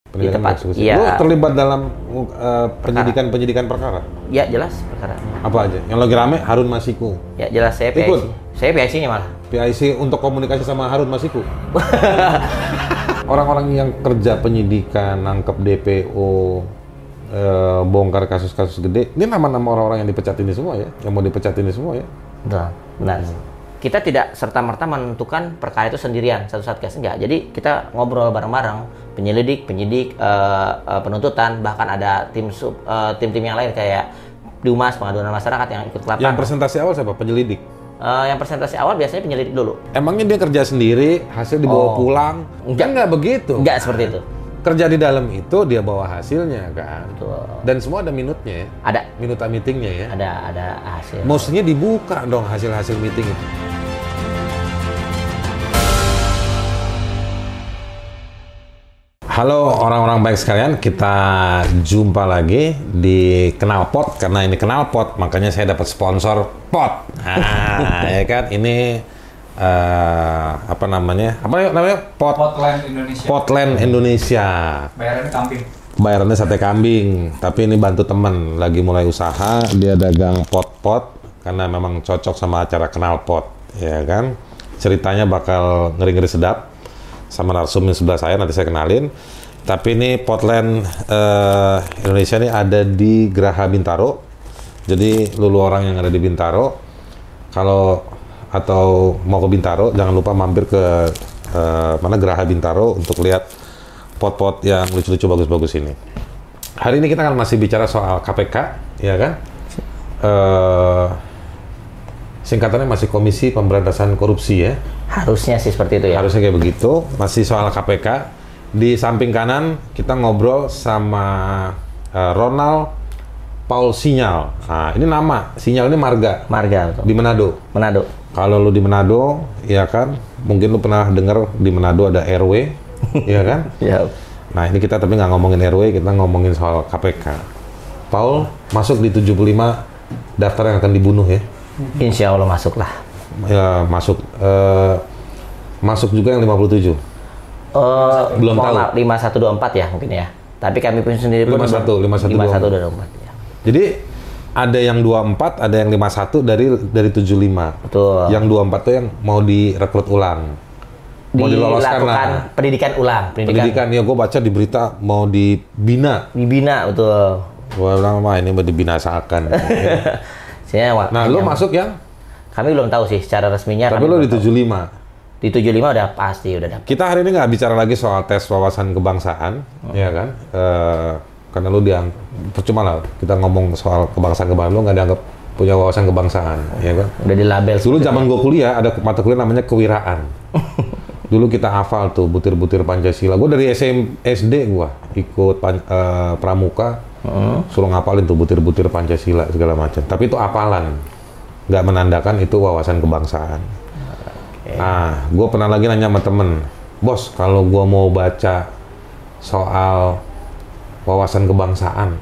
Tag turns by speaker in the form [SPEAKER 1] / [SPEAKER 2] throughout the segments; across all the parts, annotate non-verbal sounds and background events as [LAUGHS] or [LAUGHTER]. [SPEAKER 1] Di
[SPEAKER 2] Pendidikan
[SPEAKER 1] tempat-
[SPEAKER 2] eksekusi.
[SPEAKER 1] iya.
[SPEAKER 2] Lu terlibat dalam uh, penyidikan-penyidikan perkara?
[SPEAKER 1] Ya jelas perkara.
[SPEAKER 2] Apa aja? Yang lagi rame Harun Masiku.
[SPEAKER 1] Ya jelas saya PIC.
[SPEAKER 2] Ikut.
[SPEAKER 1] Saya PIC-nya malah.
[SPEAKER 2] PIC untuk komunikasi sama Harun
[SPEAKER 1] [LAUGHS]
[SPEAKER 2] Masiku. Orang-orang yang kerja penyidikan, nangkep DPO, eh, bongkar kasus-kasus gede. Ini nama-nama orang-orang yang dipecat ini semua ya, yang mau dipecat ini semua ya.
[SPEAKER 1] Benar. Benar. Kita tidak serta-merta menentukan perkara itu sendirian satu satgas enggak. Jadi kita ngobrol bareng-bareng penyelidik, penyidik, eh, eh, penuntutan, bahkan ada tim sub eh, tim-tim yang lain kayak Dumas pengaduan masyarakat yang ikut ke
[SPEAKER 2] Yang
[SPEAKER 1] lapangan.
[SPEAKER 2] presentasi awal siapa? Penyelidik.
[SPEAKER 1] Eh, yang presentasi awal biasanya penyelidik dulu.
[SPEAKER 2] Emangnya dia kerja sendiri, hasil dibawa
[SPEAKER 1] Oh.
[SPEAKER 2] pulang?
[SPEAKER 1] Enggak.
[SPEAKER 2] Kan nggak begitu.
[SPEAKER 1] Enggak seperti itu.
[SPEAKER 2] Kerja di dalam itu dia bawa hasilnya kan.
[SPEAKER 1] Betul.
[SPEAKER 2] Dan semua ada minutnya ya,
[SPEAKER 1] Ada
[SPEAKER 2] minuta meetingnya ya.
[SPEAKER 1] ada ada hasil.
[SPEAKER 2] Mestinya dibuka dong hasil-hasil meeting itu. Halo orang-orang baik sekalian, kita jumpa lagi di Kenalpot karena ini Kenalpot, makanya saya dapat sponsor pot. Ah, ya kan? Ini eh, apa namanya? Apa namanya? Pot
[SPEAKER 3] Potland Indonesia.
[SPEAKER 2] Potland Indonesia
[SPEAKER 3] Bayaran kambing.
[SPEAKER 2] bayarannya sate kambing tapi ini bantu temen lagi mulai usaha dia dagang pot-pot karena memang cocok sama acara kenal pot ya kan ceritanya bakal ngeri-ngeri sedap sama narsum yang sebelah saya nanti saya kenalin tapi ini Potland eh, Indonesia ini ada di Geraha Bintaro jadi lulu orang yang ada di Bintaro kalau atau mau ke Bintaro jangan lupa mampir ke eh, mana Geraha Bintaro untuk lihat pot-pot yang lucu-lucu bagus-bagus ini. Hari ini kita akan masih bicara soal KPK, ya kan? Eh, singkatannya masih Komisi Pemberantasan Korupsi ya.
[SPEAKER 1] Harusnya sih seperti itu ya.
[SPEAKER 2] Harusnya kayak begitu. Masih soal KPK. Di samping kanan kita ngobrol sama eh, Ronald Paul Sinyal. Nah, ini nama Sinyal ini marga
[SPEAKER 1] Marga betul.
[SPEAKER 2] di Manado.
[SPEAKER 1] Manado.
[SPEAKER 2] Kalau lu di Manado, ya kan? Mungkin lu pernah dengar di Manado ada RW, ya kan?
[SPEAKER 1] Ya.
[SPEAKER 2] Nah ini kita tapi nggak ngomongin RW, kita ngomongin soal KPK. Paul masuk di 75 daftar yang akan dibunuh ya.
[SPEAKER 1] Insya Allah masuklah.
[SPEAKER 2] Ya, masuk eh, masuk juga yang 57.
[SPEAKER 1] Eh,
[SPEAKER 2] Belum
[SPEAKER 1] mohon
[SPEAKER 2] tahu.
[SPEAKER 1] maaf, 5124 ya mungkin ya. Tapi kami pun sendiri pun
[SPEAKER 2] 51,
[SPEAKER 1] 5124 ya.
[SPEAKER 2] Jadi ada yang 24, ada yang 51 dari dari 75.
[SPEAKER 1] Betul.
[SPEAKER 2] Yang 24 tuh yang mau direkrut ulang. Mau diloloskan
[SPEAKER 1] Dilakukan
[SPEAKER 2] lah.
[SPEAKER 1] pendidikan ulang,
[SPEAKER 2] Pendidikan
[SPEAKER 1] pendidikan,
[SPEAKER 2] ya gue baca di berita mau dibina.
[SPEAKER 1] dibina betul.
[SPEAKER 2] Gue bilang mah ini mau [LAUGHS] dibinasakan.
[SPEAKER 1] Saya wa-
[SPEAKER 2] nah lu
[SPEAKER 1] yang-
[SPEAKER 2] masuk yang
[SPEAKER 1] kami belum tahu sih secara resminya
[SPEAKER 2] tapi
[SPEAKER 1] kami
[SPEAKER 2] lu
[SPEAKER 1] belum
[SPEAKER 2] di 75.
[SPEAKER 1] tahu. di 75 udah pasti udah dapat.
[SPEAKER 2] Kita hari ini nggak bicara lagi soal tes wawasan kebangsaan, ya kan? Eh, karena lu diang, percuma lah kita ngomong soal kebangsaan kebangsaan lu nggak dianggap punya wawasan kebangsaan, ya kan?
[SPEAKER 1] Udah dilabel
[SPEAKER 2] Dulu zaman gue kuliah ada mata kuliah namanya kewiraan. Dulu kita hafal tuh butir-butir Pancasila. Gue dari SM, SD gua ikut pan- eh, pramuka, suruh ngapalin tuh butir-butir Pancasila segala macam. Tapi itu apalan, nggak menandakan itu wawasan kebangsaan. Nah, gue pernah lagi nanya sama temen, bos kalau gue mau baca soal wawasan kebangsaan,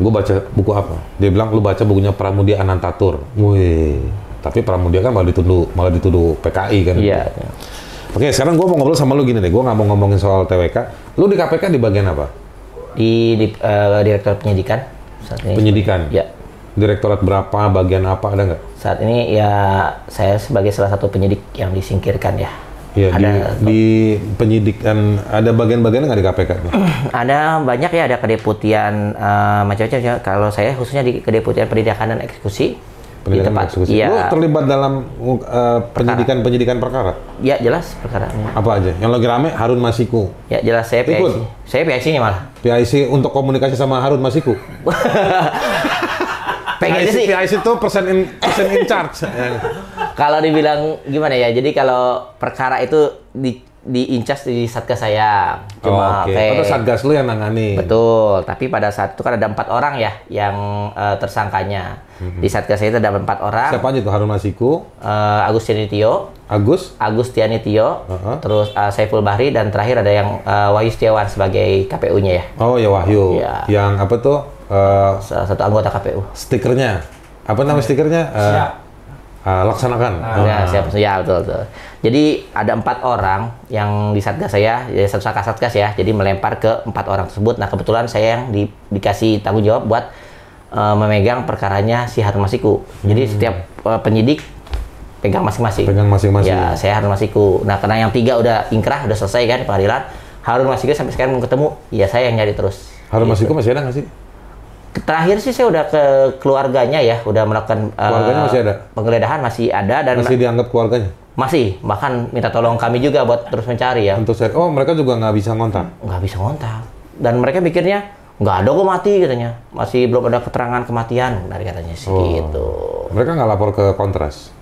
[SPEAKER 2] gue baca buku apa? Dia bilang lu baca bukunya Pramudia Anantatur. Wih, tapi Pramudia kan malah dituduh malah dituduh PKI kan?
[SPEAKER 1] Iya.
[SPEAKER 2] Oke, sekarang gue mau ngobrol sama lu gini deh. Gue nggak mau ngomongin soal TWK. Lu di KPK di bagian apa?
[SPEAKER 1] Di, di eh, direktur penyidikan saat ini.
[SPEAKER 2] Penyidikan.
[SPEAKER 1] Ya.
[SPEAKER 2] Direktorat berapa? Bagian apa? Ada nggak?
[SPEAKER 1] Saat ini ya saya sebagai salah satu penyidik yang disingkirkan ya.
[SPEAKER 2] Iya di,
[SPEAKER 1] ada
[SPEAKER 2] di penyidikan ada bagian-bagian nggak di KPK? tuh?
[SPEAKER 1] ada banyak ya ada kedeputian eh, macam-macam ya. kalau saya khususnya di kedeputian pendidikan dan eksekusi di
[SPEAKER 2] Pendidikan
[SPEAKER 1] tempat
[SPEAKER 2] eksekusi.
[SPEAKER 1] iya
[SPEAKER 2] Lu terlibat dalam uh, penyidikan-penyidikan perkara?
[SPEAKER 1] ya jelas perkaranya
[SPEAKER 2] Apa aja? Yang lagi rame Harun Masiku.
[SPEAKER 1] ya jelas saya PIC
[SPEAKER 2] Ikut.
[SPEAKER 1] saya PIC nya malah
[SPEAKER 2] PIC untuk komunikasi sama Harun Masiku.
[SPEAKER 1] pengennya sih
[SPEAKER 2] PIC itu person in, person in
[SPEAKER 1] [LAUGHS]
[SPEAKER 2] charge. Ya.
[SPEAKER 1] kalau dibilang gimana ya jadi kalau perkara itu di di incas di satgas saya
[SPEAKER 2] Oh,
[SPEAKER 1] cuma
[SPEAKER 2] Oke.
[SPEAKER 1] kayak-
[SPEAKER 2] Atau Satgas lu yang nangani.
[SPEAKER 1] Betul, tapi pada saat itu kan ada empat orang ya yang eh, tersangkanya. Di Satgas itu ada empat orang.
[SPEAKER 2] Hmm. Siapa aja tuh Harun Masiku,
[SPEAKER 1] Eh, Agus Tianitio,
[SPEAKER 2] Agus,
[SPEAKER 1] Agus Tianitio,
[SPEAKER 2] Uh-huh.
[SPEAKER 1] terus eh, Saiful Bahri dan terakhir ada yang eh, Wahyu Setiawan sebagai KPU-nya ya.
[SPEAKER 2] oh ya Wahyu,
[SPEAKER 1] Iya.
[SPEAKER 2] yang apa tuh eh,
[SPEAKER 1] Salah satu anggota KPU.
[SPEAKER 2] stikernya? Apa nama stikernya? Eh,
[SPEAKER 3] Siap.
[SPEAKER 2] eh, laksanakan.
[SPEAKER 1] Ya, siap. Ya, betul, betul. Jadi ada empat orang yang di satgas saya, jadi satu satgas satgas ya. Jadi melempar ke empat orang tersebut. Nah kebetulan saya yang di- dikasih tanggung jawab buat eh, memegang perkaranya si Harun Masiku. Jadi setiap eh, penyidik pegang masing-masing.
[SPEAKER 2] Pegang Ah, masing-masing.
[SPEAKER 1] Ya, saya Harun Masiku. Nah karena yang tiga udah ingkrah, udah selesai kan pengadilan. Harun Masiku sampai sekarang belum ketemu. Ya saya yang nyari terus.
[SPEAKER 2] Harun Masiku masih ada nggak sih?
[SPEAKER 1] Terakhir sih saya udah ke keluarganya ya, udah melakukan eh,
[SPEAKER 2] Keluarganya masih ada?
[SPEAKER 1] penggeledahan masih ada dan
[SPEAKER 2] Masih dianggap keluarganya?
[SPEAKER 1] masih bahkan minta tolong kami juga buat terus mencari ya
[SPEAKER 2] Untuk saya, oh mereka juga nggak bisa ngontak.
[SPEAKER 1] nggak bisa ngontak dan mereka mikirnya nggak ada kok mati katanya masih belum ada keterangan kematian dari katanya sih
[SPEAKER 2] Oh.
[SPEAKER 1] gitu
[SPEAKER 2] Mereka nggak lapor ke kontras.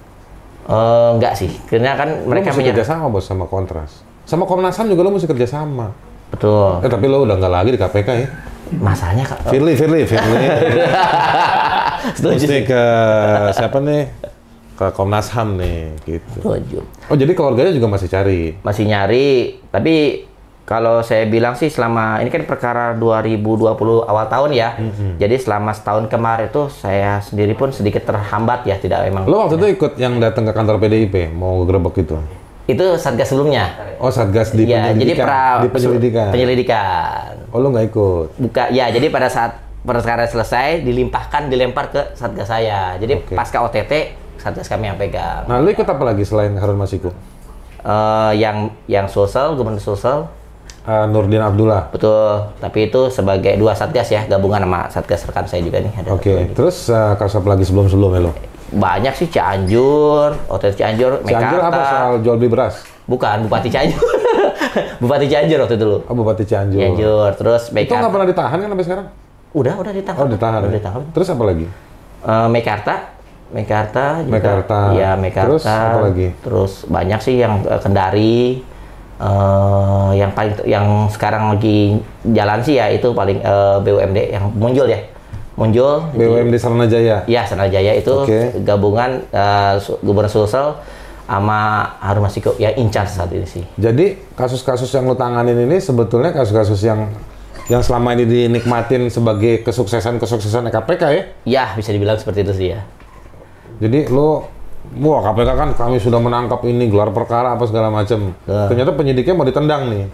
[SPEAKER 1] Eh, nggak sih karena kan
[SPEAKER 2] Mereka
[SPEAKER 1] mereka
[SPEAKER 2] mesti
[SPEAKER 1] punya
[SPEAKER 2] kerja sama bos sama kontras. Sama Komnas HAM juga lo mesti kerja sama.
[SPEAKER 1] betul
[SPEAKER 2] Eh tapi lo udah nggak lagi di KPK ya.
[SPEAKER 1] masalahnya Kak,
[SPEAKER 2] Firly, Firly, Firly.
[SPEAKER 1] [LAUGHS] setuju
[SPEAKER 2] mesti ke siapa nih? Ke Komnas HAM nih gitu.
[SPEAKER 1] setuju
[SPEAKER 2] Oh jadi keluarganya juga masih cari.
[SPEAKER 1] masih nyari tapi kalau saya bilang sih selama ini kan perkara 2020 awal tahun ya
[SPEAKER 2] Mm-hmm.
[SPEAKER 1] jadi selama setahun kemarin itu saya sendiri pun sedikit terhambat ya tidak memang
[SPEAKER 2] Lo waktu itu ikut yang datang ke kantor PDIP mau gerebek itu.
[SPEAKER 1] itu satgas sebelumnya
[SPEAKER 2] Oh Satgas di
[SPEAKER 1] ya,
[SPEAKER 2] penyelidikan.
[SPEAKER 1] jadi pra
[SPEAKER 2] di penyelidikan.
[SPEAKER 1] penyelidikan.
[SPEAKER 2] Oh lo nggak ikut.
[SPEAKER 1] Buka ya, jadi pada saat perkara selesai dilimpahkan dilempar ke satgas saya. Jadi
[SPEAKER 2] Oke.
[SPEAKER 1] pasca OTT satgas kami yang pegang.
[SPEAKER 2] Nah lo ikut apa lagi selain Harun Masiku?
[SPEAKER 1] Eh, yang yang sosial, gubernur sosial
[SPEAKER 2] Eh, Nurdin Abdullah.
[SPEAKER 1] betul. Tapi itu sebagai dua satgas ya, gabungan sama satgas rekan saya juga nih. Ada
[SPEAKER 2] Oke. Terus eh, kasus apa lagi sebelum sebelumnya lo?
[SPEAKER 1] banyak sih Cianjur, OTT Cianjur,
[SPEAKER 2] Cianjur
[SPEAKER 1] Mekarta.
[SPEAKER 2] apa soal jual beli beras?
[SPEAKER 1] Bukan Bupati Cianjur. [LAUGHS] Bupati Cianjur waktu itu dulu.
[SPEAKER 2] Oh Bupati Cianjur.
[SPEAKER 1] Cianjur,
[SPEAKER 2] Itu
[SPEAKER 1] terus Mekarta.
[SPEAKER 2] nggak pernah ditahan kan sampai sekarang?
[SPEAKER 1] Udah, udah ditangkap.
[SPEAKER 2] Oh ditahan.
[SPEAKER 1] Udah
[SPEAKER 2] ya?
[SPEAKER 1] ditangkap.
[SPEAKER 2] Terus apa lagi?
[SPEAKER 1] Eh, Mekarta, Mekarta, juga.
[SPEAKER 2] Mekarta.
[SPEAKER 1] Iya, Mekarta.
[SPEAKER 2] Terus apa lagi?
[SPEAKER 1] Terus banyak sih yang eh, Kendari, eh, yang paling yang sekarang lagi jalan sih ya itu paling eh, BUMD yang muncul ya, muncul.
[SPEAKER 2] BUMD Saranajaya.
[SPEAKER 1] Ya, Senajaya itu
[SPEAKER 2] Oke.
[SPEAKER 1] gabungan eh, Su- Gubernur Sulsel sama Harun Masiku ya incar saat ini sih.
[SPEAKER 2] Jadi kasus-kasus yang lo tanganin ini sebetulnya kasus-kasus yang yang selama ini dinikmatin sebagai kesuksesan-kesuksesan KPK ya.
[SPEAKER 1] Ya bisa dibilang seperti itu sih ya.
[SPEAKER 2] Jadi lo Wah KPK kan kami sudah menangkap ini gelar perkara apa segala macam. Ternyata penyidiknya mau ditendang nih.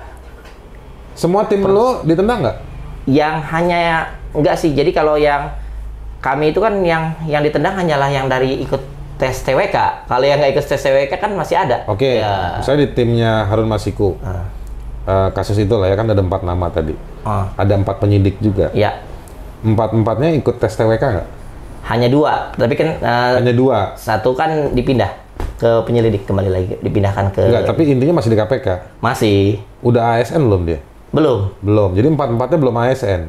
[SPEAKER 2] Semua tim lo ditendang nggak?
[SPEAKER 1] yang hanya enggak sih jadi kalau yang kami itu kan yang yang ditendang hanyalah yang dari ikut tes TWK kalau yang nggak ikut tes TWK kan masih ada
[SPEAKER 2] Oke,
[SPEAKER 1] Ya.
[SPEAKER 2] saya di timnya Harun Masiku. Eh, kasus itulah ya kan ada empat nama tadi.
[SPEAKER 1] Ah.
[SPEAKER 2] Ada empat penyidik juga.
[SPEAKER 1] ya
[SPEAKER 2] Empat empatnya ikut tes TWK nggak?
[SPEAKER 1] hanya dua tapi kan eh,
[SPEAKER 2] Hanya dua.
[SPEAKER 1] satu kan dipindah ke penyelidik kembali lagi dipindahkan ke
[SPEAKER 2] Enggak, tapi intinya masih di KPK.
[SPEAKER 1] masih
[SPEAKER 2] Udah ASN belum dia?
[SPEAKER 1] belum
[SPEAKER 2] Belum. Jadi empat empatnya belum ASN.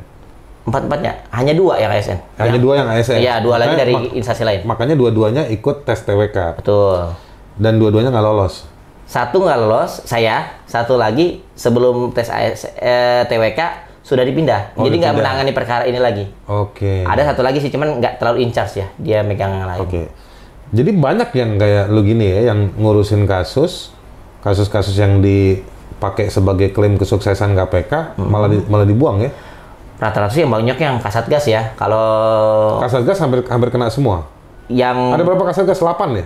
[SPEAKER 1] empat empatnya hanya dua ya, yang ASN
[SPEAKER 2] Hanya dua yang ASN.
[SPEAKER 1] ya dua lagi
[SPEAKER 2] Makanya-
[SPEAKER 1] dari
[SPEAKER 2] mak-
[SPEAKER 1] instansi lain
[SPEAKER 2] makanya dua-duanya ikut tes TWK
[SPEAKER 1] betul
[SPEAKER 2] dan dua-duanya nggak lolos.
[SPEAKER 1] satu nggak lolos saya satu lagi sebelum tes AS, eh, TWK sudah dipindah
[SPEAKER 2] Oh,
[SPEAKER 1] jadi nggak
[SPEAKER 2] dipindah.
[SPEAKER 1] menangani perkara ini lagi
[SPEAKER 2] Oke.
[SPEAKER 1] ada satu lagi sih cuman nggak terlalu in charge ya dia megang yang lain
[SPEAKER 2] Oke. Jadi banyak yang kayak lu gini ya, yang ngurusin kasus, kasus-kasus yang dipakai sebagai klaim kesuksesan KPK malah di- malah dibuang ya.
[SPEAKER 1] rata-rata sih yang banyak yang kasatgas ya kalau
[SPEAKER 2] Kasatgas hampir hampir kena semua.
[SPEAKER 1] yang
[SPEAKER 2] Ada berapa kasatgas? 8 ya?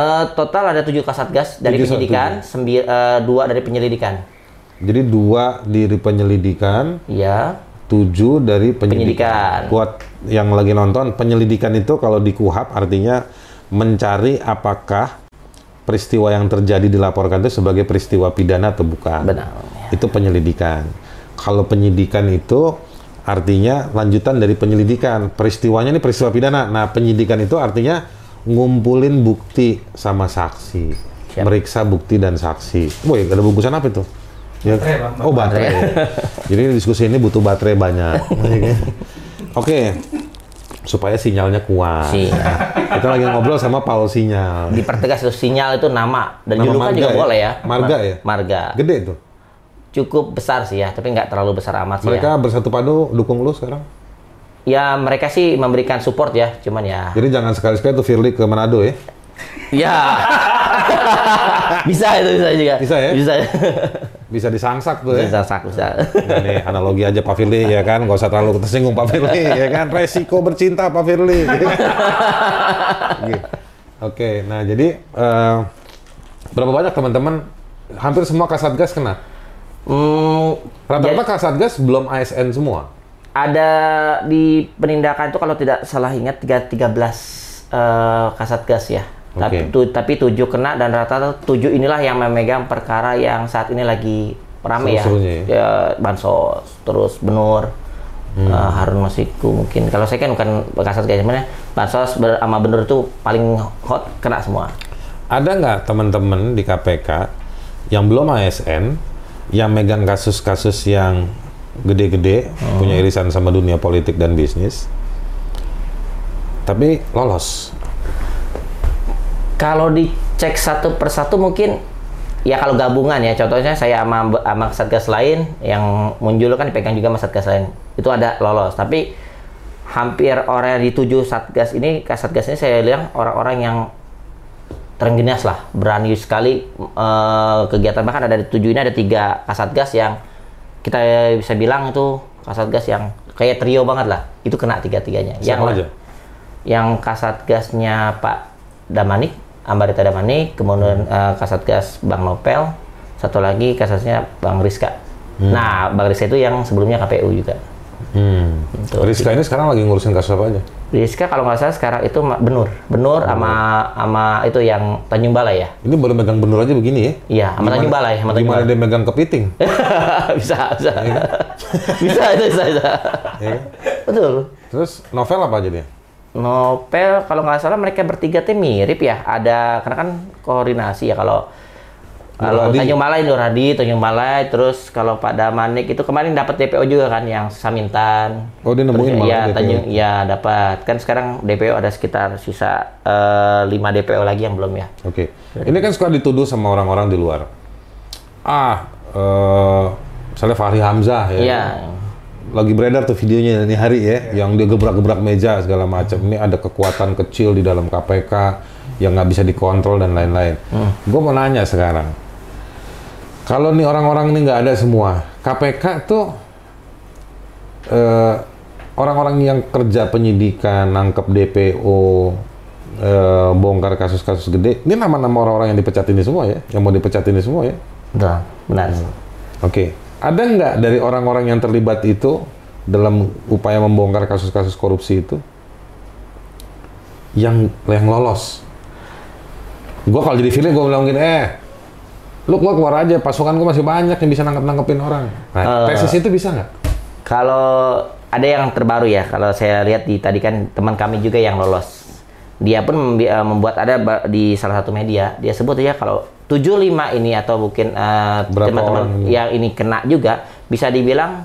[SPEAKER 1] eh, total ada tujuh kasatgas dari
[SPEAKER 2] Tujuh,
[SPEAKER 1] penyidikan sembi- eh, dua dari penyelidikan
[SPEAKER 2] Jadi dua di penyelidikan,
[SPEAKER 1] ya
[SPEAKER 2] tujuh dari penyelidikan.
[SPEAKER 1] Penyidikan.
[SPEAKER 2] Buat yang lagi nonton, penyelidikan itu kalau di KUHAP artinya mencari apakah peristiwa yang terjadi dilaporkan itu sebagai peristiwa pidana atau bukan.
[SPEAKER 1] Benar.
[SPEAKER 2] Itu penyelidikan. Kalau penyidikan itu artinya lanjutan dari penyelidikan. Peristiwanya ini peristiwa pidana. Nah, penyidikan itu artinya ngumpulin bukti sama saksi.
[SPEAKER 1] Siap.
[SPEAKER 2] Meriksa bukti dan saksi. Woi, ada bungkusan apa itu? Ya.
[SPEAKER 3] Baterai, Bang.
[SPEAKER 2] Oh, baterai. [LAUGHS] Jadi diskusi ini butuh baterai
[SPEAKER 1] [LAUGHS]
[SPEAKER 2] banyak. Oke. Supaya sinyalnya kuat.
[SPEAKER 1] si
[SPEAKER 2] Kita lagi ngobrol sama Paul Sinyal.
[SPEAKER 1] dipertegas itu sinyal itu nama
[SPEAKER 2] Nama
[SPEAKER 1] dan julukan
[SPEAKER 2] marga
[SPEAKER 1] juga
[SPEAKER 2] ya?
[SPEAKER 1] boleh ya
[SPEAKER 2] Marga ya?
[SPEAKER 1] marga
[SPEAKER 2] Gede tuh.
[SPEAKER 1] cukup besar sih ya tapi nggak terlalu besar amat sih
[SPEAKER 2] Mereka bersatu padu dukung lu sekarang.
[SPEAKER 1] ya. ya mereka sih memberikan support ya cuman ya
[SPEAKER 2] [LAUGHS] Jadi jangan sekali-sekali tuh Firly ke Manado ya. [LAUGHS]
[SPEAKER 1] ya bisa itu bisa juga
[SPEAKER 2] Bisa ya?
[SPEAKER 1] bisa
[SPEAKER 2] Bisa disangsak tuh ya.
[SPEAKER 1] bisa sak, bisa
[SPEAKER 2] Nah, nih analogi aja Pak Firly ya kan, gak usah terlalu
[SPEAKER 1] [LAUGHS]
[SPEAKER 2] tersinggung Pak Firly ya kan, resiko bercinta Pak Firly. Gitu. Oke, nah jadi eh, berapa banyak teman-teman? Hampir semua kasatgas kena.
[SPEAKER 1] Hmm,
[SPEAKER 2] Rata-rata kasatgas belum ASN semua.
[SPEAKER 1] ada di penindakan itu kalau tidak salah ingat tiga- 13 eh, kasatgas ya.
[SPEAKER 2] Oke.
[SPEAKER 1] Tapi tu- tapi 7 kena dan rata-rata 7 inilah yang memegang perkara yang saat ini lagi rame ya.
[SPEAKER 2] Seru-serunya ya.
[SPEAKER 1] Ya, bansos, terus benur.
[SPEAKER 2] Hmm.
[SPEAKER 1] eh, Harun Masiku mungkin kalau saya kan bukan kasatgas sebenarnya bansos ber- sama benur itu paling hot kena semua
[SPEAKER 2] Ada nggak teman-teman di KPK yang belum ASN, yang megang kasus-kasus yang gede-gede, punya irisan sama dunia politik dan bisnis, tapi lolos?
[SPEAKER 1] Kalau dicek satu persatu mungkin ya kalau gabungan ya contohnya saya sama, sama satgas lain yang muncul kan dipegang juga sama satgas lain itu ada lolos tapi hampir orang yang dituju satgas ini ke satgas ini saya bilang orang-orang yang terengginas lah berani sekali eh, kegiatan bahkan ada di tujuh ini ada tiga kasatgas yang kita bisa bilang itu kasatgas yang kayak trio banget lah itu kena tiga tiganya
[SPEAKER 2] Siapa aja?
[SPEAKER 1] yang kasatgasnya Pak Damanik, Ambarita Damanik, kemudian eh, kasatgas Bang Nopel, satu lagi kasatgasnya Bang Rizka. Nah, Bang Rizka itu yang sebelumnya KPU juga.
[SPEAKER 2] Hmm.
[SPEAKER 1] Betul.
[SPEAKER 2] Rizka ini sekarang lagi ngurusin kasus apa aja?
[SPEAKER 1] Rizka kalau nggak salah sekarang itu Ma- Benur, Benur sama sama itu yang Tanjung Balai ya. [LAUGHS]
[SPEAKER 2] Ini baru megang benur aja begini ya?
[SPEAKER 1] Iya, sama Tanjung Balai, sama Tanjung
[SPEAKER 2] Gimana
[SPEAKER 1] Balai.
[SPEAKER 2] dia megang
[SPEAKER 1] [LAUGHS]
[SPEAKER 2] kepiting?
[SPEAKER 1] bisa, bisa. [LAUGHS] bisa, itu bisa, bisa.
[SPEAKER 2] Ya kan?
[SPEAKER 1] Betul.
[SPEAKER 2] Terus novel apa aja dia?
[SPEAKER 1] Nopel kalau nggak salah mereka bertiga teh mirip ya. Ada karena kan koordinasi ya kalau kalau
[SPEAKER 2] Hadi.
[SPEAKER 1] Tanjung Balai Nur Hadi, Tanjung Balai, terus kalau Pak Damanik itu kemarin dapat DPO juga kan yang Samintan.
[SPEAKER 2] Oh, dia nemuin
[SPEAKER 1] Terus,
[SPEAKER 2] malah
[SPEAKER 1] Iya,
[SPEAKER 2] DPO.
[SPEAKER 1] Tanjung iya dapat. Kan sekarang DPO ada sekitar sisa eh, 5 DPO lagi yang belum ya.
[SPEAKER 2] Oke. Ini kan suka dituduh sama orang-orang di luar. Ah, eh, misalnya Fahri Hamzah ya.
[SPEAKER 1] Iya.
[SPEAKER 2] Lagi beredar tuh videonya ini hari ya, yang dia gebrak-gebrak meja segala macam. Ini ada kekuatan kecil di dalam KPK yang nggak bisa dikontrol dan lain-lain. Gue mau nanya sekarang, kalau nih orang-orang ini nggak ada semua, KPK tuh eh, orang-orang yang kerja penyidikan, nangkep DPO, eh, bongkar kasus-kasus gede, ini nama-nama orang-orang yang dipecat ini semua ya, yang mau dipecat ini semua ya.
[SPEAKER 1] Betul, benar.
[SPEAKER 2] Oke, ada nggak dari orang-orang yang terlibat itu dalam upaya membongkar kasus-kasus korupsi itu yang yang lolos? Gue kalau jadi Firly gue bilang gini, eh, lu keluar keluar aja, pasukan gue masih banyak yang bisa nangkep nangkepin orang. Nah,
[SPEAKER 1] Eh.
[SPEAKER 2] tesis itu bisa nggak?
[SPEAKER 1] Kalau ada yang terbaru ya, kalau saya lihat di tadi kan teman kami juga yang lolos. Dia pun membi- eh, membuat ada ba- di salah satu media, dia sebut ya kalau 75 ini atau mungkin eh,
[SPEAKER 2] Berapa orang
[SPEAKER 1] teman-teman
[SPEAKER 2] ini?
[SPEAKER 1] yang ini kena juga bisa dibilang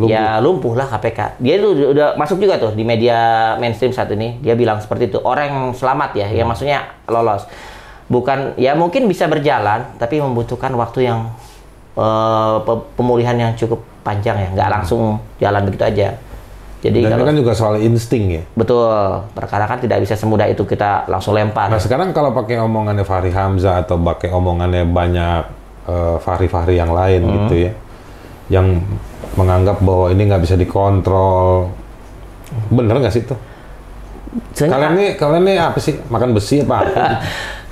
[SPEAKER 2] Lumpuh.
[SPEAKER 1] ya lumpuh lah KPK. Dia itu udah- udah masuk juga tuh di media mainstream saat ini. Dia bilang seperti itu. Orang yang selamat ya,
[SPEAKER 2] Hmm.
[SPEAKER 1] yang maksudnya lolos. Bukan ya mungkin bisa berjalan tapi membutuhkan waktu yang eh, pe- pemulihan yang cukup panjang ya, nggak langsung jalan begitu aja. Jadi
[SPEAKER 2] Hmm. Dan
[SPEAKER 1] kalau
[SPEAKER 2] ini kan juga soal insting ya.
[SPEAKER 1] betul perkara kan tidak bisa semudah itu kita langsung lempar.
[SPEAKER 2] Nah sekarang kalau pakai omongannya Fahri Hamzah atau pakai omongannya banyak eh, Fahri-Fahri yang lain
[SPEAKER 1] Hmm.
[SPEAKER 2] gitu ya, yang menganggap bahwa ini nggak bisa dikontrol, bener nggak sih itu?
[SPEAKER 1] Sebenarnya-
[SPEAKER 2] Kalian nih kalian nih apa sih makan besi
[SPEAKER 1] [LAUGHS]
[SPEAKER 2] apa? apa?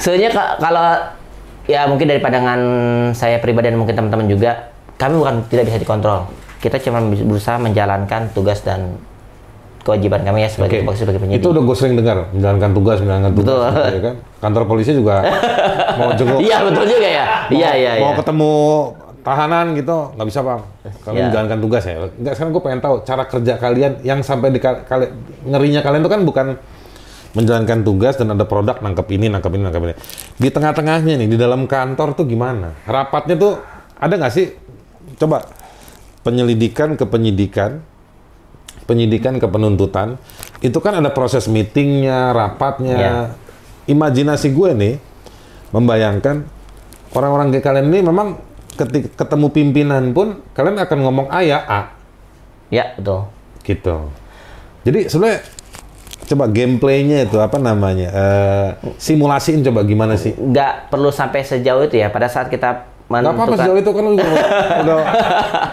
[SPEAKER 1] Sebenarnya ka- kalau ya mungkin dari pandangan saya pribadi dan mungkin teman-teman juga, kami bukan tidak bisa dikontrol. Kita cuma bis- berusaha menjalankan tugas dan kewajiban kami ya sebagai
[SPEAKER 2] Oke.
[SPEAKER 1] sebagai penyidik.
[SPEAKER 2] Itu udah gue sering dengar menjalankan tugas menjalankan tugas
[SPEAKER 1] Betul.
[SPEAKER 2] gitu ya kan. Kantor polisi
[SPEAKER 1] [LAUGHS]
[SPEAKER 2] juga mau jenguk,
[SPEAKER 1] Iya betul juga ya. Iya iya
[SPEAKER 2] mau
[SPEAKER 1] iya.
[SPEAKER 2] ketemu tahanan gitu nggak bisa pak. Kalian
[SPEAKER 1] Iya.
[SPEAKER 2] menjalankan tugas ya. Enggak sekarang gue pengen tahu cara kerja kalian yang sampai di kal- kali- ngerinya kalian itu kan bukan menjalankan tugas dan ada produk nangkep ini nangkep ini nangkep ini. Di tengah-tengahnya nih di dalam kantor tuh gimana? Rapatnya tuh ada nggak sih? Coba penyelidikan ke penyidikan penyidikan ke penuntutan itu kan ada proses meetingnya rapatnya
[SPEAKER 1] Iya.
[SPEAKER 2] imajinasi gue nih membayangkan orang-orang kayak kalian ini memang ketik ketemu pimpinan pun kalian akan ngomong A ya A
[SPEAKER 1] Ya betul.
[SPEAKER 2] gitu jadi sebenarnya coba gameplaynya itu apa namanya Eh, simulasiin coba gimana sih
[SPEAKER 1] Nggak perlu sampai sejauh itu ya. Pada saat kita
[SPEAKER 2] Gak apa-apa
[SPEAKER 1] menentukan
[SPEAKER 2] sejauh itu kan lu juga mau- udah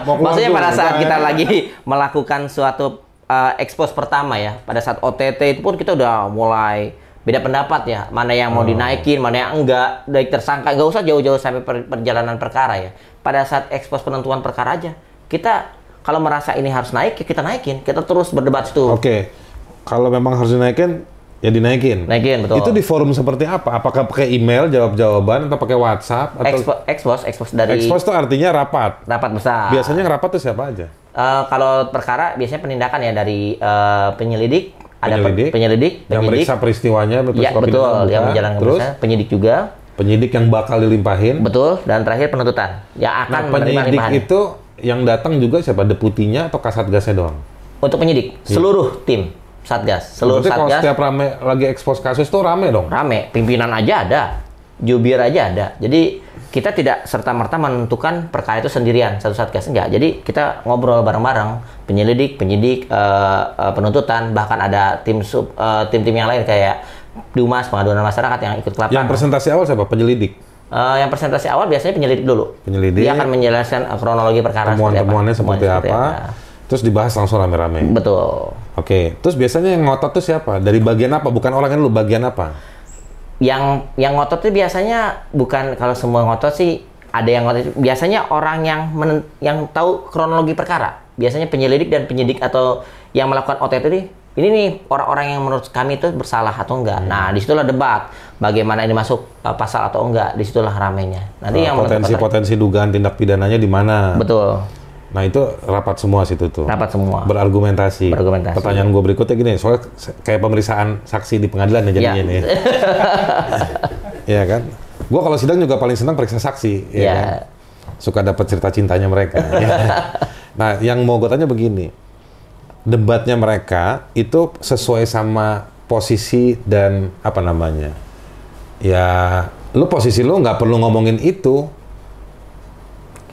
[SPEAKER 2] mau keluar
[SPEAKER 1] Maksudnya
[SPEAKER 2] dulu,
[SPEAKER 1] pada saat
[SPEAKER 2] kan?
[SPEAKER 1] kita lagi [LAUGHS] eh, melakukan suatu uh, expose pertama ya, pada saat OTT itu pun kita udah mulai beda pendapat ya mana yang
[SPEAKER 2] Oh.
[SPEAKER 1] mau dinaikin mana yang enggak dari tersangka nggak usah jauh-jauh sampai per- perjalanan perkara ya pada saat ekspos penentuan perkara aja kita kalau merasa ini harus naik ya kita naikin kita terus berdebat itu
[SPEAKER 2] Oke, kalau memang harus dinaikin, ya dinaikin.
[SPEAKER 1] Naikin, betul.
[SPEAKER 2] Itu di forum seperti apa? Apakah pakai email jawab-jawaban atau pakai WhatsApp atau
[SPEAKER 1] ekspos ekspos ekspos dari
[SPEAKER 2] Oh, Expose itu artinya rapat.
[SPEAKER 1] rapat besar
[SPEAKER 2] Biasanya yang rapat tuh siapa aja?
[SPEAKER 1] Eh, kalau perkara biasanya penindakan ya dari eh, penyelidik ada pe-
[SPEAKER 2] Penyelidik.
[SPEAKER 1] penyelidik
[SPEAKER 2] Yang
[SPEAKER 1] penyidik
[SPEAKER 2] meriksa peristiwanya,
[SPEAKER 1] ya
[SPEAKER 2] peristiwa
[SPEAKER 1] betul
[SPEAKER 2] pidana,
[SPEAKER 1] yang
[SPEAKER 2] bukan?
[SPEAKER 1] menjalankan
[SPEAKER 2] ah. Terus
[SPEAKER 1] perusahaan, penyidik juga
[SPEAKER 2] penyidik yang bakal dilimpahin.
[SPEAKER 1] Betul, dan terakhir penuntutan. Ya
[SPEAKER 2] Nah,
[SPEAKER 1] akan menerima
[SPEAKER 2] penyidik
[SPEAKER 1] limpahan.
[SPEAKER 2] itu yang datang juga siapa? Deputinya atau kasatgasnya doang?
[SPEAKER 1] Untuk penyidik, seluruh tim Satgas, seluruh
[SPEAKER 2] Iya. Berarti kalau
[SPEAKER 1] Satgas
[SPEAKER 2] setiap rame lagi ekspos kasus tuh rame dong.
[SPEAKER 1] rame, pimpinan aja ada, jubir aja ada. Jadi kita tidak serta merta menentukan perkara itu sendirian satu Satgas enggak. Jadi kita ngobrol bareng-bareng, penyelidik, penyidik, eh, eh, penuntutan, bahkan ada tim sub eh, tim-tim yang lain kayak Dumas pengaduan masyarakat yang ikut ke lapangan.
[SPEAKER 2] Yang presentasi awal siapa? Penyelidik.
[SPEAKER 1] Eh, yang presentasi awal biasanya penyelidik dulu.
[SPEAKER 2] Penyelidik.
[SPEAKER 1] Dia akan menjelaskan eh, kronologi perkara seperti apa.
[SPEAKER 2] Temuan-temuannya seperti,
[SPEAKER 1] Temuannya
[SPEAKER 2] apa? Terus dibahas langsung rame-rame.
[SPEAKER 1] Betul.
[SPEAKER 2] Oke, terus biasanya yang ngotot tuh siapa? Dari bagian apa? Bukan orangnya lu, bagian apa?
[SPEAKER 1] yang yang ngotot itu biasanya bukan kalau semua ngotot sih ada yang ngotot biasanya orang yang menen- yang tahu kronologi perkara biasanya penyelidik dan penyidik atau yang melakukan OTT ini ini nih orang-orang yang menurut kami itu bersalah atau
[SPEAKER 2] Hmm.
[SPEAKER 1] enggak nah disitulah debat bagaimana ini masuk uh, pasal atau enggak disitulah ramenya nanti
[SPEAKER 2] Eh,
[SPEAKER 1] yang menentukan-
[SPEAKER 2] Nah, Potensi-potensi dugaan tindak pidananya di mana?
[SPEAKER 1] betul
[SPEAKER 2] Nah itu rapat semua situ tuh.
[SPEAKER 1] rapat semua
[SPEAKER 2] Berargumentasi.
[SPEAKER 1] Berargumentasi.
[SPEAKER 2] Pertanyaan gue berikutnya gini, soalnya se- kayak pemeriksaan saksi di pengadilan ya jadinya
[SPEAKER 1] Ya. [LAUGHS]
[SPEAKER 2] nih. Iya kan? Gue kalau sidang juga paling senang periksa saksi. Iya
[SPEAKER 1] Ya.
[SPEAKER 2] kan? Suka dapat cerita cintanya
[SPEAKER 1] [LAUGHS]
[SPEAKER 2] mereka. Iya. nah yang mau gue tanya begini, debatnya mereka itu sesuai sama posisi dan apa namanya? Ya, lu posisi lu nggak perlu ngomongin itu,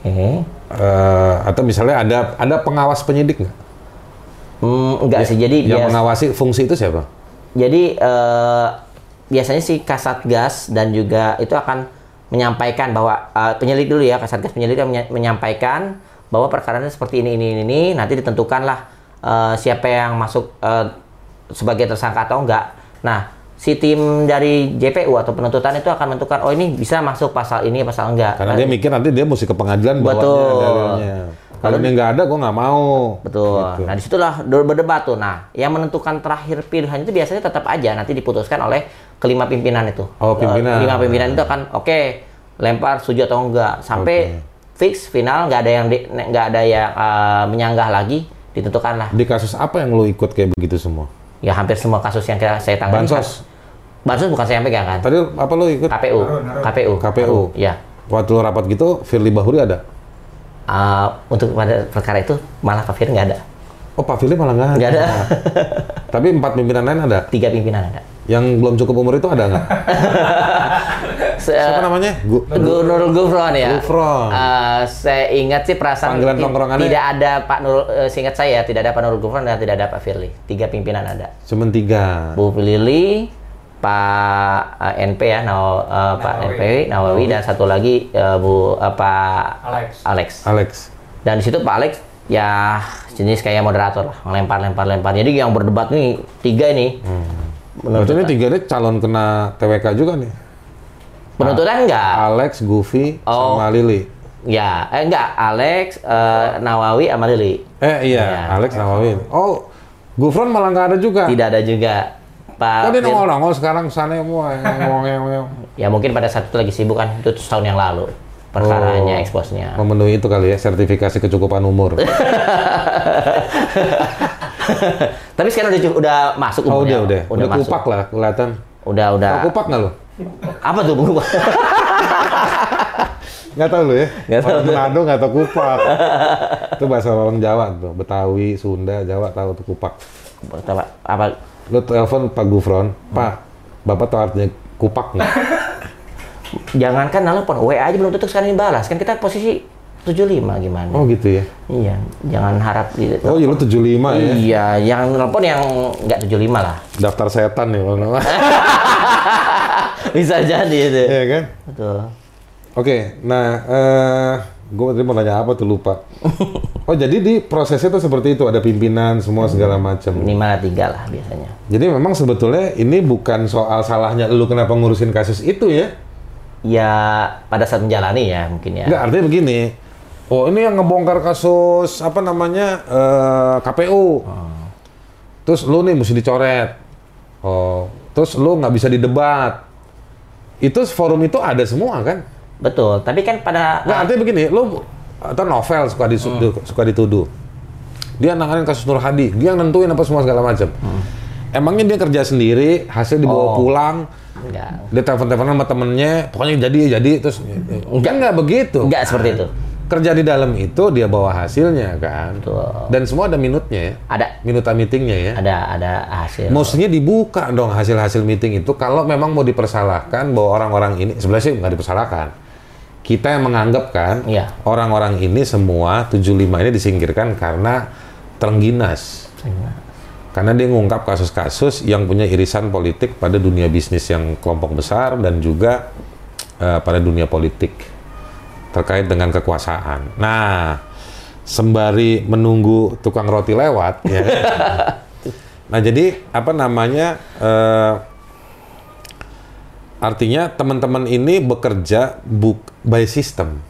[SPEAKER 1] Oke.
[SPEAKER 2] Eh, atau misalnya ada ada pengawas penyidik nggak?
[SPEAKER 1] Hmm, enggak sih jadi
[SPEAKER 2] Ya, Iya. yang
[SPEAKER 1] bias-
[SPEAKER 2] mengawasi fungsi itu siapa?
[SPEAKER 1] Jadi eh, biasanya sih Kasatgas dan juga itu akan menyampaikan bahwa eh, penyelidik dulu ya Kasatgas penyelidik akan menya- menyampaikan bahwa perkaranya seperti ini ini ini, ini. nanti ditentukanlah eh, siapa yang masuk eh, sebagai tersangka atau enggak. Nah, si tim dari JPU atau penuntutan itu akan menentukan oh ini bisa masuk pasal ini pasal enggak.
[SPEAKER 2] Karena
[SPEAKER 1] Nah,
[SPEAKER 2] dia mikir nanti dia mesti ke pengadilan bawanya
[SPEAKER 1] Betul.
[SPEAKER 2] dalilnya. Kalau
[SPEAKER 1] Kalau-
[SPEAKER 2] ini nggak ada, gue nggak mau.
[SPEAKER 1] Betul.
[SPEAKER 2] Gitu.
[SPEAKER 1] Nah disitulah ber- berdebat tuh. Nah yang menentukan terakhir pilihan itu biasanya tetap aja nanti diputuskan oleh kelima pimpinan itu.
[SPEAKER 2] Oh, pimpinan.
[SPEAKER 1] Eh, Kelima pimpinan itu akan oke lempar setuju atau enggak sampai fix final nggak ada yang di- ne- nggak ada yang eh, menyanggah lagi ditentukan lah.
[SPEAKER 2] Di kasus apa yang lo ikut kayak begitu semua?
[SPEAKER 1] Ya hampir semua kasus yang kita- saya tangani.
[SPEAKER 2] Bansos.
[SPEAKER 1] Bansos bukan saya yang pegang kan.
[SPEAKER 2] Tadi apa lo ikut?
[SPEAKER 1] KPU. KPU.
[SPEAKER 2] KPU.
[SPEAKER 1] Ya.
[SPEAKER 2] Waktu lo rapat gitu, Firly Bahuri ada?
[SPEAKER 1] Eh, untuk pada perkara itu malah Pak Fir nggak ada.
[SPEAKER 2] Oh Pak Firly malah nggak ada.
[SPEAKER 1] Nggak
[SPEAKER 2] [LAUGHS]
[SPEAKER 1] ada.
[SPEAKER 2] Tapi empat pimpinan lain ada.
[SPEAKER 1] Tiga pimpinan ada.
[SPEAKER 2] Yang belum cukup umur itu ada
[SPEAKER 1] [LAUGHS]
[SPEAKER 2] nggak?
[SPEAKER 1] Se-
[SPEAKER 2] Siapa namanya? Gu-
[SPEAKER 1] Gu- Nurul Gufron ya.
[SPEAKER 2] Gufron.
[SPEAKER 1] Eh, saya ingat sih perasaan
[SPEAKER 2] Panggilan
[SPEAKER 1] ti-
[SPEAKER 2] tongkrongannya-
[SPEAKER 1] tidak ada Pak Nurul eh, seingat saya tidak ada Pak Nurul Gufron dan tidak ada Pak Firly. Tiga pimpinan ada.
[SPEAKER 2] Cuman tiga.
[SPEAKER 1] Bu Lili, Pak eh, NP ya, Naw- eh, Pak NP Nawawi dan satu lagi eh, Bu eh, Pak
[SPEAKER 3] Alex.
[SPEAKER 1] Alex.
[SPEAKER 2] Alex.
[SPEAKER 1] Dan di situ Pak Alex ya jenis kayak moderator lah, ngelempar lempar lempar. Jadi yang berdebat nih tiga ini.
[SPEAKER 2] Hmm. Berarti ini tiga ini calon kena TWK juga nih.
[SPEAKER 1] Penuntutan enggak?
[SPEAKER 2] Alex, Gufi,
[SPEAKER 1] Oh.
[SPEAKER 2] sama Lili.
[SPEAKER 1] Ya, eh, enggak, Alex, eh, Nawawi, sama Lili.
[SPEAKER 2] Eh iya,
[SPEAKER 1] Iya.
[SPEAKER 2] Alex Nawawi. Oh, Gufron malah nggak ada juga.
[SPEAKER 1] Tidak ada juga Pak.
[SPEAKER 2] Tadi
[SPEAKER 1] Fir-
[SPEAKER 2] nongol-nongol sekarang sana semua ngomong-ngomong.
[SPEAKER 1] Ya mungkin pada saat itu lagi sibuk kan, itu tahun yang lalu. Perkaranya,
[SPEAKER 2] Oh.
[SPEAKER 1] eksposnya.
[SPEAKER 2] Memenuhi itu kali ya, sertifikasi kecukupan umur.
[SPEAKER 1] [LAUGHS] Tapi sekarang udah, udah masuk
[SPEAKER 2] Oh
[SPEAKER 1] umurnya.
[SPEAKER 2] udah, udah. Udah,
[SPEAKER 1] masuk. Nah.
[SPEAKER 2] kupak lah kelihatan.
[SPEAKER 1] Udah, udah.
[SPEAKER 2] Tau kupak nggak lo?
[SPEAKER 1] Apa tuh [LAUGHS] kupak?
[SPEAKER 2] Nggak tahu lo ya?
[SPEAKER 1] Nggak tahu
[SPEAKER 2] Orang Manado nggak tahu
[SPEAKER 1] [LAUGHS]
[SPEAKER 2] kupak. itu bahasa orang Jawa tuh. Betawi, Sunda, Jawa tahu tuh kupak.
[SPEAKER 1] apa, apa?
[SPEAKER 2] Lo telepon Pak Gufron, Pak, Bapak tahu artinya kupak
[SPEAKER 1] [LAUGHS]
[SPEAKER 2] nggak?
[SPEAKER 1] Jangankan nelpon, WA aja belum tutup sekarang ini balas. Kan kita posisi 75 gimana?
[SPEAKER 2] Oh gitu ya?
[SPEAKER 1] Iya, jangan harap di
[SPEAKER 2] Oh iya lo 75 ya?
[SPEAKER 1] Iya, yang nelpon yang nggak 75 lah. [LAUGHS]
[SPEAKER 2] Daftar setan ya kalau nggak salah.
[SPEAKER 1] Bisa jadi itu.
[SPEAKER 2] Iya kan?
[SPEAKER 1] Betul.
[SPEAKER 2] Oke, nah eh Gue tadi mau nanya apa tuh lupa. Oh jadi di prosesnya tuh seperti itu ada pimpinan semua segala macam.
[SPEAKER 1] minimal tiga lah biasanya
[SPEAKER 2] Jadi memang sebetulnya ini bukan soal salahnya lu kenapa ngurusin kasus itu ya.
[SPEAKER 1] ya pada saat menjalani ya mungkin ya
[SPEAKER 2] Enggak artinya begini. Oh ini yang ngebongkar kasus apa namanya eh, KPU. Terus lu nih mesti dicoret. Oh terus lu nggak bisa didebat. Itu forum itu ada semua kan?
[SPEAKER 1] betul tapi kan pada
[SPEAKER 2] Nggak, Nah, artinya begini, lu atau novel suka disu-
[SPEAKER 1] Hmm.
[SPEAKER 2] suka dituduh. Dia nanganin kasus Nur Hadi, dia yang nentuin apa semua segala macam. Emangnya dia kerja sendiri, hasil dibawa
[SPEAKER 1] Hmm. Oh.
[SPEAKER 2] pulang,
[SPEAKER 1] enggak
[SPEAKER 2] dia telepon-teleponan sama temennya, pokoknya jadi jadi terus kan nggak begitu.
[SPEAKER 1] enggak seperti itu
[SPEAKER 2] Kerja di dalam itu dia bawa hasilnya kan.
[SPEAKER 1] Betul.
[SPEAKER 2] Dan semua ada minutnya ya.
[SPEAKER 1] ada
[SPEAKER 2] Minuta meetingnya ya.
[SPEAKER 1] ada ada hasil
[SPEAKER 2] Mestinya dibuka dong hasil-hasil meeting itu kalau memang mau dipersalahkan bahwa orang-orang ini sebenarnya sih nggak dipersalahkan. Kita yang menganggap kan
[SPEAKER 1] Iya.
[SPEAKER 2] orang-orang ini semua 75 ini disingkirkan karena terengginas. Karena dia ngungkap kasus-kasus yang punya irisan politik pada dunia bisnis yang kelompok besar dan juga eh, pada dunia politik terkait dengan kekuasaan. Nah, sembari menunggu tukang roti lewat, ya. nah jadi apa namanya? eh, artinya teman-teman ini bekerja buk by system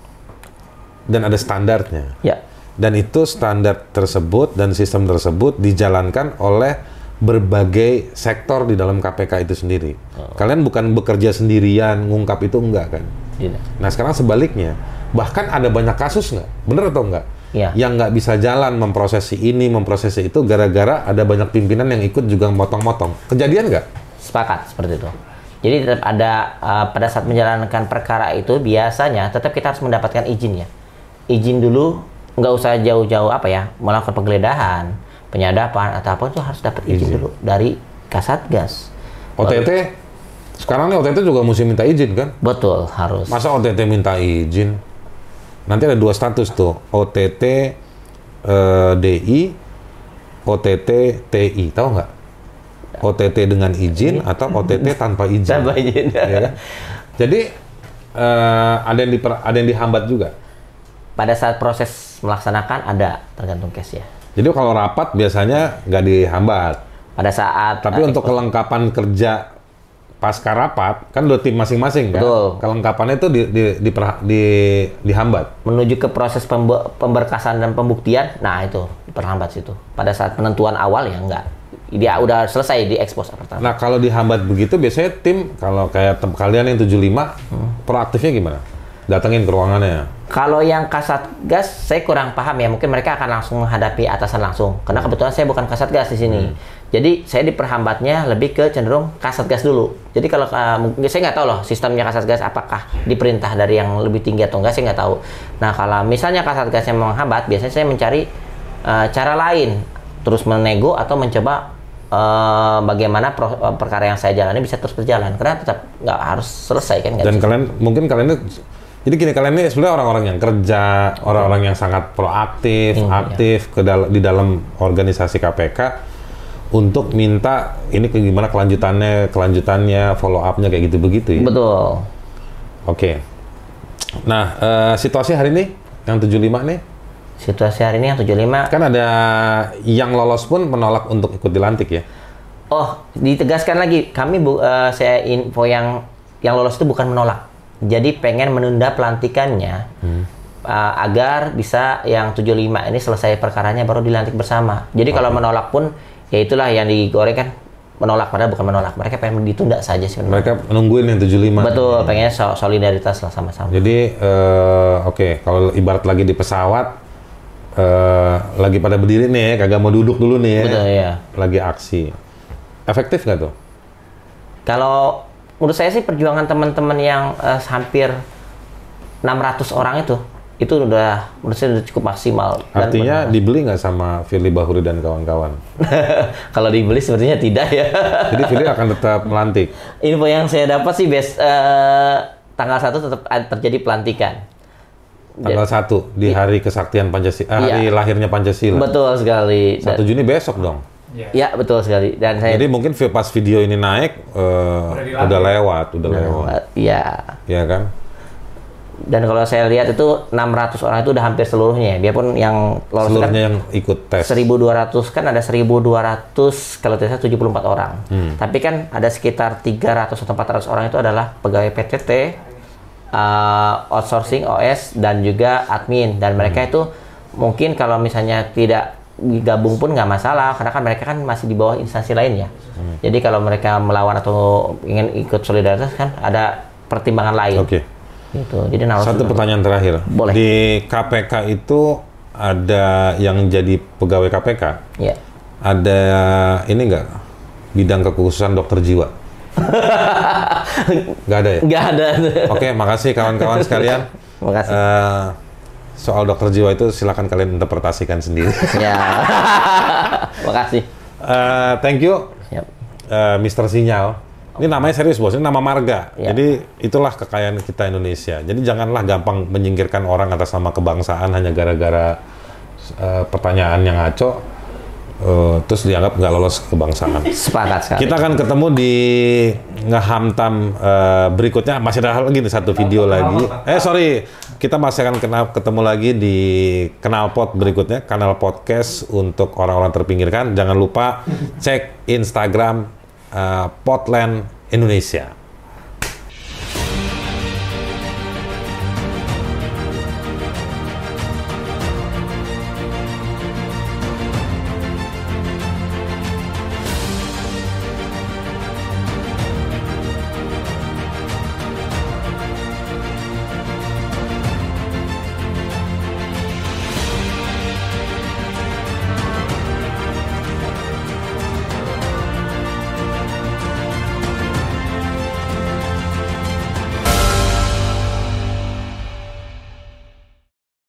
[SPEAKER 2] dan ada standarnya
[SPEAKER 1] ya
[SPEAKER 2] dan itu standar tersebut dan sistem tersebut dijalankan oleh berbagai sektor di dalam KPK itu sendiri. Kalian bukan bekerja sendirian, ngungkap itu enggak kan?
[SPEAKER 1] tidak
[SPEAKER 2] Nah sekarang sebaliknya, bahkan ada banyak kasus nggak? Bener atau enggak?
[SPEAKER 1] Iya.
[SPEAKER 2] Yang nggak bisa jalan memprosesi ini, memprosesi itu gara-gara ada banyak pimpinan yang ikut juga motong-motong. Kejadian nggak?
[SPEAKER 1] Sepakat seperti itu. Jadi tetap ada eh, pada saat menjalankan perkara itu biasanya tetap kita harus mendapatkan izinnya. Izin dulu nggak usah jauh-jauh apa ya melakukan penggeledahan, penyadapan atau apa itu harus dapat izin, dulu dari Kasatgas.
[SPEAKER 2] OTT? Sekarang nih OTT juga mesti minta izin kan?
[SPEAKER 1] Betul harus.
[SPEAKER 2] Masa OTT minta izin? Nanti ada dua status tuh, OTT eh, DI, OTT TI, tahu nggak? OTT dengan izin atau OTT tanpa izin?
[SPEAKER 1] Tanpa izin.
[SPEAKER 2] Iya kan? Jadi eh, ada yang diper, ada yang dihambat juga.
[SPEAKER 1] Pada saat proses melaksanakan ada tergantung case ya.
[SPEAKER 2] Jadi kalau rapat biasanya nggak dihambat.
[SPEAKER 1] Pada saat
[SPEAKER 2] Tapi untuk kelengkapan kerja pasca rapat kan dua tim masing-masing kan.
[SPEAKER 1] Betul.
[SPEAKER 2] Kelengkapannya itu di, di, diperha- di- dihambat.
[SPEAKER 1] menuju ke proses pembe- pemberkasan dan pembuktian, nah itu diperlambat situ. Pada saat penentuan awal ya enggak, dia udah selesai di expose pertama.
[SPEAKER 2] Nah kalau dihambat begitu biasanya tim kalau kayak tem kalian yang 75 proaktifnya gimana? Datengin ke ruangannya.
[SPEAKER 1] Kalau yang kasat gas, saya kurang paham ya. Mungkin mereka akan langsung menghadapi atasan langsung. Karena kebetulan saya bukan kasat gas di sini. Jadi saya diperhambatnya lebih ke cenderung kasat gas dulu. Jadi kalau eh, mungkin saya nggak tahu loh sistemnya kasat gas apakah diperintah dari yang lebih tinggi atau enggak saya nggak tahu. Nah kalau misalnya kasat gasnya menghambat, biasanya saya mencari eh, cara lain, terus menego atau mencoba eh, bagaimana pro- eh, perkara yang saya jalani bisa terus berjalan. Karena tetap nggak harus selesai kan nggak
[SPEAKER 2] Dan
[SPEAKER 1] bisa.
[SPEAKER 2] kalian mungkin kalian ini- jadi gini kalian ini sebenarnya orang-orang yang kerja, orang-orang yang sangat proaktif,
[SPEAKER 1] Iya.
[SPEAKER 2] aktif ke dal- di dalam organisasi KPK untuk minta ini ke gimana kelanjutannya, kelanjutannya, follow up-nya kayak gitu begitu ya.
[SPEAKER 1] Betul.
[SPEAKER 2] Oke. Nah, eh, situasi hari ini yang 75 nih
[SPEAKER 1] Situasi hari ini yang 75
[SPEAKER 2] kan ada yang lolos pun menolak untuk ikut dilantik ya.
[SPEAKER 1] Oh, ditegaskan lagi, kami bu, eh, saya info yang yang lolos itu bukan menolak. Jadi pengen menunda pelantikannya eh, agar bisa yang 75 ini selesai perkaranya baru dilantik bersama. Jadi kalau menolak pun ya itulah yang digoreng kan menolak padahal bukan menolak. Mereka pengen ditunda saja sebenarnya.
[SPEAKER 2] Mereka nungguin yang 75.
[SPEAKER 1] Betul, pengennya so- solidaritas lah sama-sama.
[SPEAKER 2] Jadi eh, oke, kalau ibarat lagi di pesawat eh, lagi pada berdiri nih ya, kagak mau duduk dulu nih ya.
[SPEAKER 1] Betul ya.
[SPEAKER 2] Lagi aksi. Efektif nggak tuh?
[SPEAKER 1] Kalau menurut saya sih perjuangan teman-teman yang eh, hampir 600 orang itu itu udah menurut saya udah cukup maksimal Dan
[SPEAKER 2] Artinya dibeli nggak sama Firly Bahuri dan kawan-kawan?
[SPEAKER 1] [LAUGHS] Kalau dibeli sepertinya tidak ya. [LAUGHS]
[SPEAKER 2] Jadi Firly akan tetap melantik.
[SPEAKER 1] Info yang saya dapat sih bes eh, tanggal 1 tetap ada- terjadi pelantikan. Iya.
[SPEAKER 2] Tanggal 1 di hari kesaktian Pancasila, eh, hari lahirnya Pancasila.
[SPEAKER 1] Betul sekali. Dan-
[SPEAKER 2] 1 Juni besok dong.
[SPEAKER 3] Iya.
[SPEAKER 1] ya betul sekali. Dan saya
[SPEAKER 2] Jadi mungkin vi- pas video ini oh. naik eh, udah lewat, udah lewat.
[SPEAKER 1] ya
[SPEAKER 2] Iya kan?
[SPEAKER 1] Eh, Dan kalau saya lihat itu 600 orang itu udah hampir seluruhnya ya. Biarpun yang lolos
[SPEAKER 2] Seluruhnya
[SPEAKER 1] kan
[SPEAKER 2] yang ikut tes.
[SPEAKER 1] 1200 kan ada 1200 kalau tidak salah 74 orang.
[SPEAKER 2] Hmm.
[SPEAKER 1] Tapi kan ada sekitar 300 atau 400 orang itu adalah pegawai PTT, uh, outsourcing OS dan juga admin dan
[SPEAKER 2] Hmm.
[SPEAKER 1] mereka itu mungkin kalau misalnya tidak digabung pun nggak masalah karena kan mereka kan masih di bawah instansi lain ya.
[SPEAKER 2] Hmm.
[SPEAKER 1] Jadi kalau mereka melawan atau ingin ikut solidaritas kan ada pertimbangan lain.
[SPEAKER 2] Oke.
[SPEAKER 1] Gitu. Jadi naruh
[SPEAKER 2] Satu pertanyaan terakhir.
[SPEAKER 1] Boleh.
[SPEAKER 2] Di KPK itu ada yang jadi pegawai KPK,
[SPEAKER 1] ya.
[SPEAKER 2] ada ini enggak bidang kekhususan dokter jiwa?
[SPEAKER 1] [LAUGHS]
[SPEAKER 2] Enggak ada ya?
[SPEAKER 1] Nggak ada. [LAUGHS]
[SPEAKER 2] Oke, makasih kawan-kawan sekalian.
[SPEAKER 1] Makasih.
[SPEAKER 2] Eh, soal dokter jiwa itu silakan kalian interpretasikan
[SPEAKER 1] [LAUGHS]
[SPEAKER 2] sendiri.
[SPEAKER 1] ya. Makasih.
[SPEAKER 2] Eh, thank you.
[SPEAKER 1] Yap.
[SPEAKER 2] eh Mister Sinyal. Ini namanya serius bos, ini nama marga.
[SPEAKER 1] Ya.
[SPEAKER 2] Jadi itulah kekayaan kita Indonesia. Jadi janganlah gampang menyingkirkan orang atas nama kebangsaan hanya gara-gara eh, pertanyaan yang ngaco, eh, terus dianggap nggak lolos kebangsaan.
[SPEAKER 1] Sepakat sekali.
[SPEAKER 2] Kita akan ketemu di ngehamtam eh, berikutnya masih ada lagi nih satu video lagi. Eh sorry, kita masih akan kena, ketemu lagi di Kenalpot berikutnya, kanal podcast untuk orang-orang terpinggirkan. Jangan lupa cek Instagram eh, Potland Indonesia.